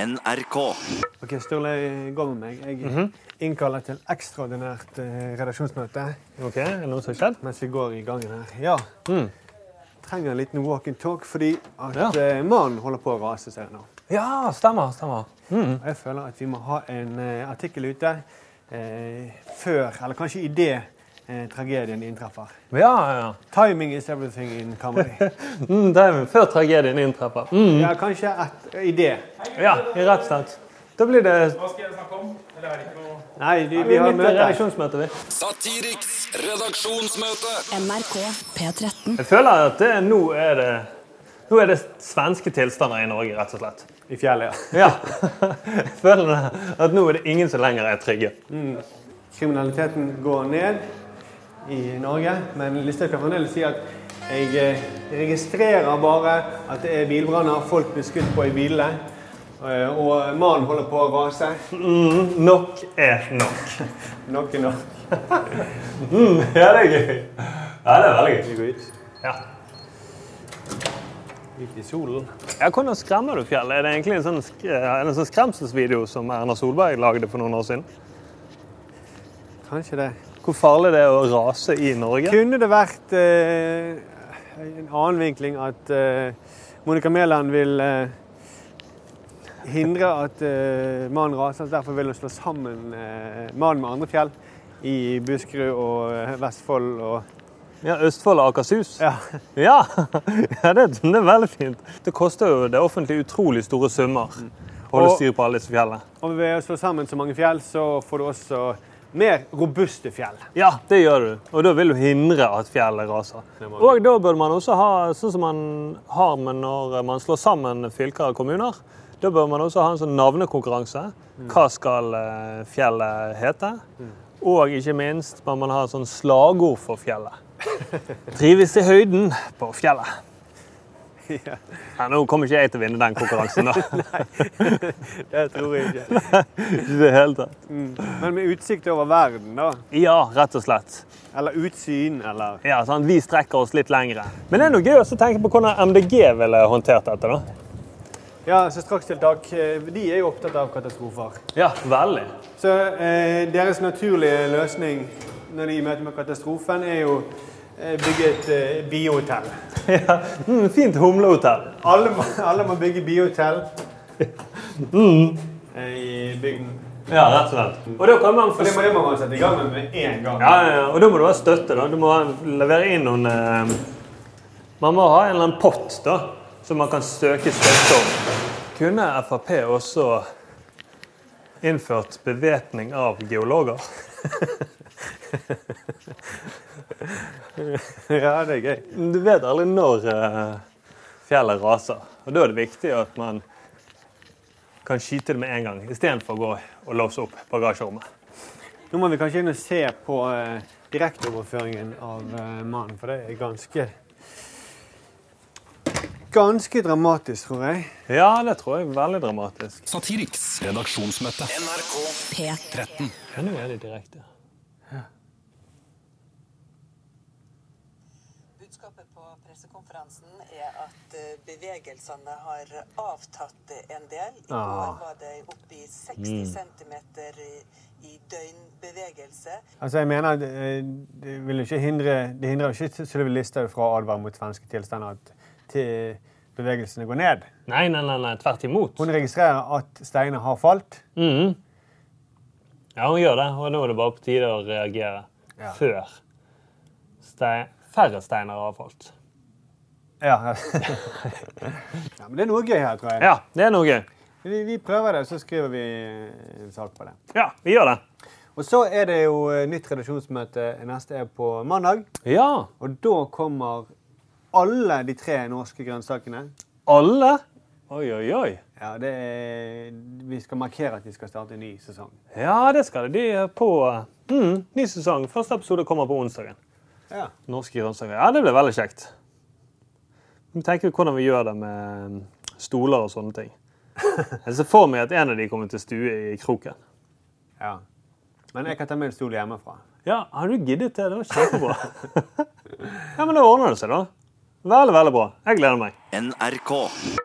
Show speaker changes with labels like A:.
A: NRK.
B: Ok, Sturle, jeg går med meg. Jeg
C: Mhm.
B: innkaller til ekstraordinært eh, redaksjonsmøte
C: Ok, er det noe som har skjedd?
B: mens vi går i gangen her. Ja.
C: Mm.
B: Trenger en liten walk and talk fordi at
C: Ja.
B: eh, mannen holder på å rase seg nå.
C: Ja, stemmer, stemmer. Mm.
B: Og jeg føler at vi må ha en eh, artikkel ute eh, før, eller kanskje idet eh, tragedien inntreffer.
C: Ja, ja, ja.
B: Timing is everything in comedy.
C: Mm, det er før tragedien inntreffer. Mm.
B: Ja, kanskje eh, et idé.
C: Ja, rett og slett. Da blir det
D: Hva skal jeg snakke om? Eller er det ikke noe
B: Nei, vi, vi har
C: litt
B: møte.
C: redaksjonsmøte, vi.
A: Satiriks redaksjonsmøte.
E: NRK P13.
C: Jeg føler at det, nå er det nå er det svenske tilstander i Norge, rett og slett.
B: I fjellet, ja.
C: Ja. Jeg føler at nå er det ingen som lenger er trygge.
B: Kriminaliteten går ned i Norge, men Listhaug kan fremdeles si at jeg eh, registrerer bare at det er bilbranner, folk blir skutt på i bilene, eh, og mannen holder på å rase.
C: Mm, nok er nok.
B: Nok er nok.
C: Mm, ja, det er gøy. Ja, det er veldig gøy.
B: Vi går ut.
C: Ja.
B: Ut i solen.
C: Ja, Hvordan skremmer du fjell? Er det egentlig en sånn, sk- er det en sånn skremselsvideo som Erna Solberg lagde for noen år siden?
B: Kanskje det.
C: Hvor farlig det er å rase i Norge?
B: Kunne det vært eh, en annen vinkling at eh, Monica Mæland vil eh, hindre at eh, mannen raser, så derfor vil hun slå sammen eh, mannen med andre fjell i Buskerud og eh, Vestfold og
C: Ja, Østfold og Akershus?
B: ja.
C: Ja, ja det, det er veldig fint. Det koster jo det offentlige utrolig store summer å holde
B: Og-
C: styr på alle disse fjellene.
B: Og ved å slå sammen så mange fjell, så får du også mer robuste fjell.
C: Ja, det gjør du. Og da vil du hindre at fjellet raser.
B: Det må vi.
C: Og da bør man også ha, sånn som man har med når man slår sammen fylker og kommuner, da bør man også ha en sånn navnekonkurranse.
B: Mm.
C: Hva skal eh, fjellet hete? Og ikke minst bør man ha et sånn slagord for fjellet. Trives i høyden på fjellet.
B: Ja.
C: Ja, nå kommer ikke jeg til å vinne den konkurransen, da.
B: Det tror jeg ikke.
C: Ikke i det hele tatt.
B: Mm. Men med utsikt over verden, da.
C: Ja, rett og slett.
B: Eller utsyn, eller
C: Ja, sant? Vi strekker oss litt lengre. Men det er noe gøy også å tenke på hvordan MDG ville håndtert dette. da.
B: Ja, så strakstiltak. eh, De er jo opptatt av katastrofer.
C: Ja, veldig.
B: Så eh, deres naturlige løsning når de møter med katastrofen, er jo eh, bygge et eh, biohotell.
C: Ja. Mm, fint humlehotell.
B: Alle, må- alle må bygge biohotell eh, i bygden.
C: Ja, rett og slett. Og da kan man
B: Og det
C: få...
B: må, det må man sette i gang med med en gang.
C: Ja, ja, ja. Og da må du ha støtte. da. Du må ha- levere inn noen eh, Man må ha en eller annen pott da, som man kan søke støtte om. Kunne Frp også innført bevæpning av geologer?
B: Ja, det er gøy.
C: Du vet aldri når eh, fjellet raser. Og da er det viktig at man kan skyte det med en gang, istedenfor å gå og låse opp bagasjerommet.
B: Nå må vi kanskje inn og se på eh, direkteoverføringen av eh, mannen, for det er ganske Ganske dramatisk, tror jeg.
C: Ja, det tror jeg er veldig dramatisk.
A: Satiriks redaksjonsmøte. NRK
E: P13.
C: Ja, nå er det direkte.
F: Budskapet på pressekonferansen er at eh, bevegelsene har avtatt en del. I går var de oppe i 60 cm i, i døgnbevegelse.
B: Altså, jeg mener at eh, det vil ikke hindre Det hindrer jo ikke Sylvi Listhaug fra å advare mot svenske tilstander at til bevegelsene går ned.
C: Nei, nei, nei, nei tvert imot.
B: Hun registrerer at steinene har falt.
C: Mhm. Ja, hun gjør det, og nå er det bare på tide å reagere.
B: Ja.
C: Før stein, færre steiner har falt.
B: Ja. ja, men det er noe gøy her, tror jeg.
C: Ja, det er noe gøy.
B: Vi, vi prøver det, så skriver vi eh, en sak på det.
C: Ja, vi gjør det.
B: Og så er det jo eh, nytt redaksjonsmøte. Neste er på mandag.
C: Ja.
B: Og da kommer alle de tre norske grønnsakene.
C: Alle? Oi, oi, oi.
B: Ja, det er, vi skal markere at vi skal starte en ny sesong.
C: Ja, det skal det. De er på eh, mm, ny sesong. Første episode kommer på onsdagen.
B: Ja.
C: Norske grønnsaker. Ja, det blir veldig kjekt. Vi tenker hvordan vi gjør det med mm, stoler og sånne ting. Jeg ser for meg at en av de kommer til stue i kroken.
B: Ja. Men jeg kan ta med en stol hjemmefra.
C: Ja, har du giddet det? Det var kjempebra. ja, men da ordner det seg, da. Veldig, veldig bra. Jeg gleder meg.
A: NRK.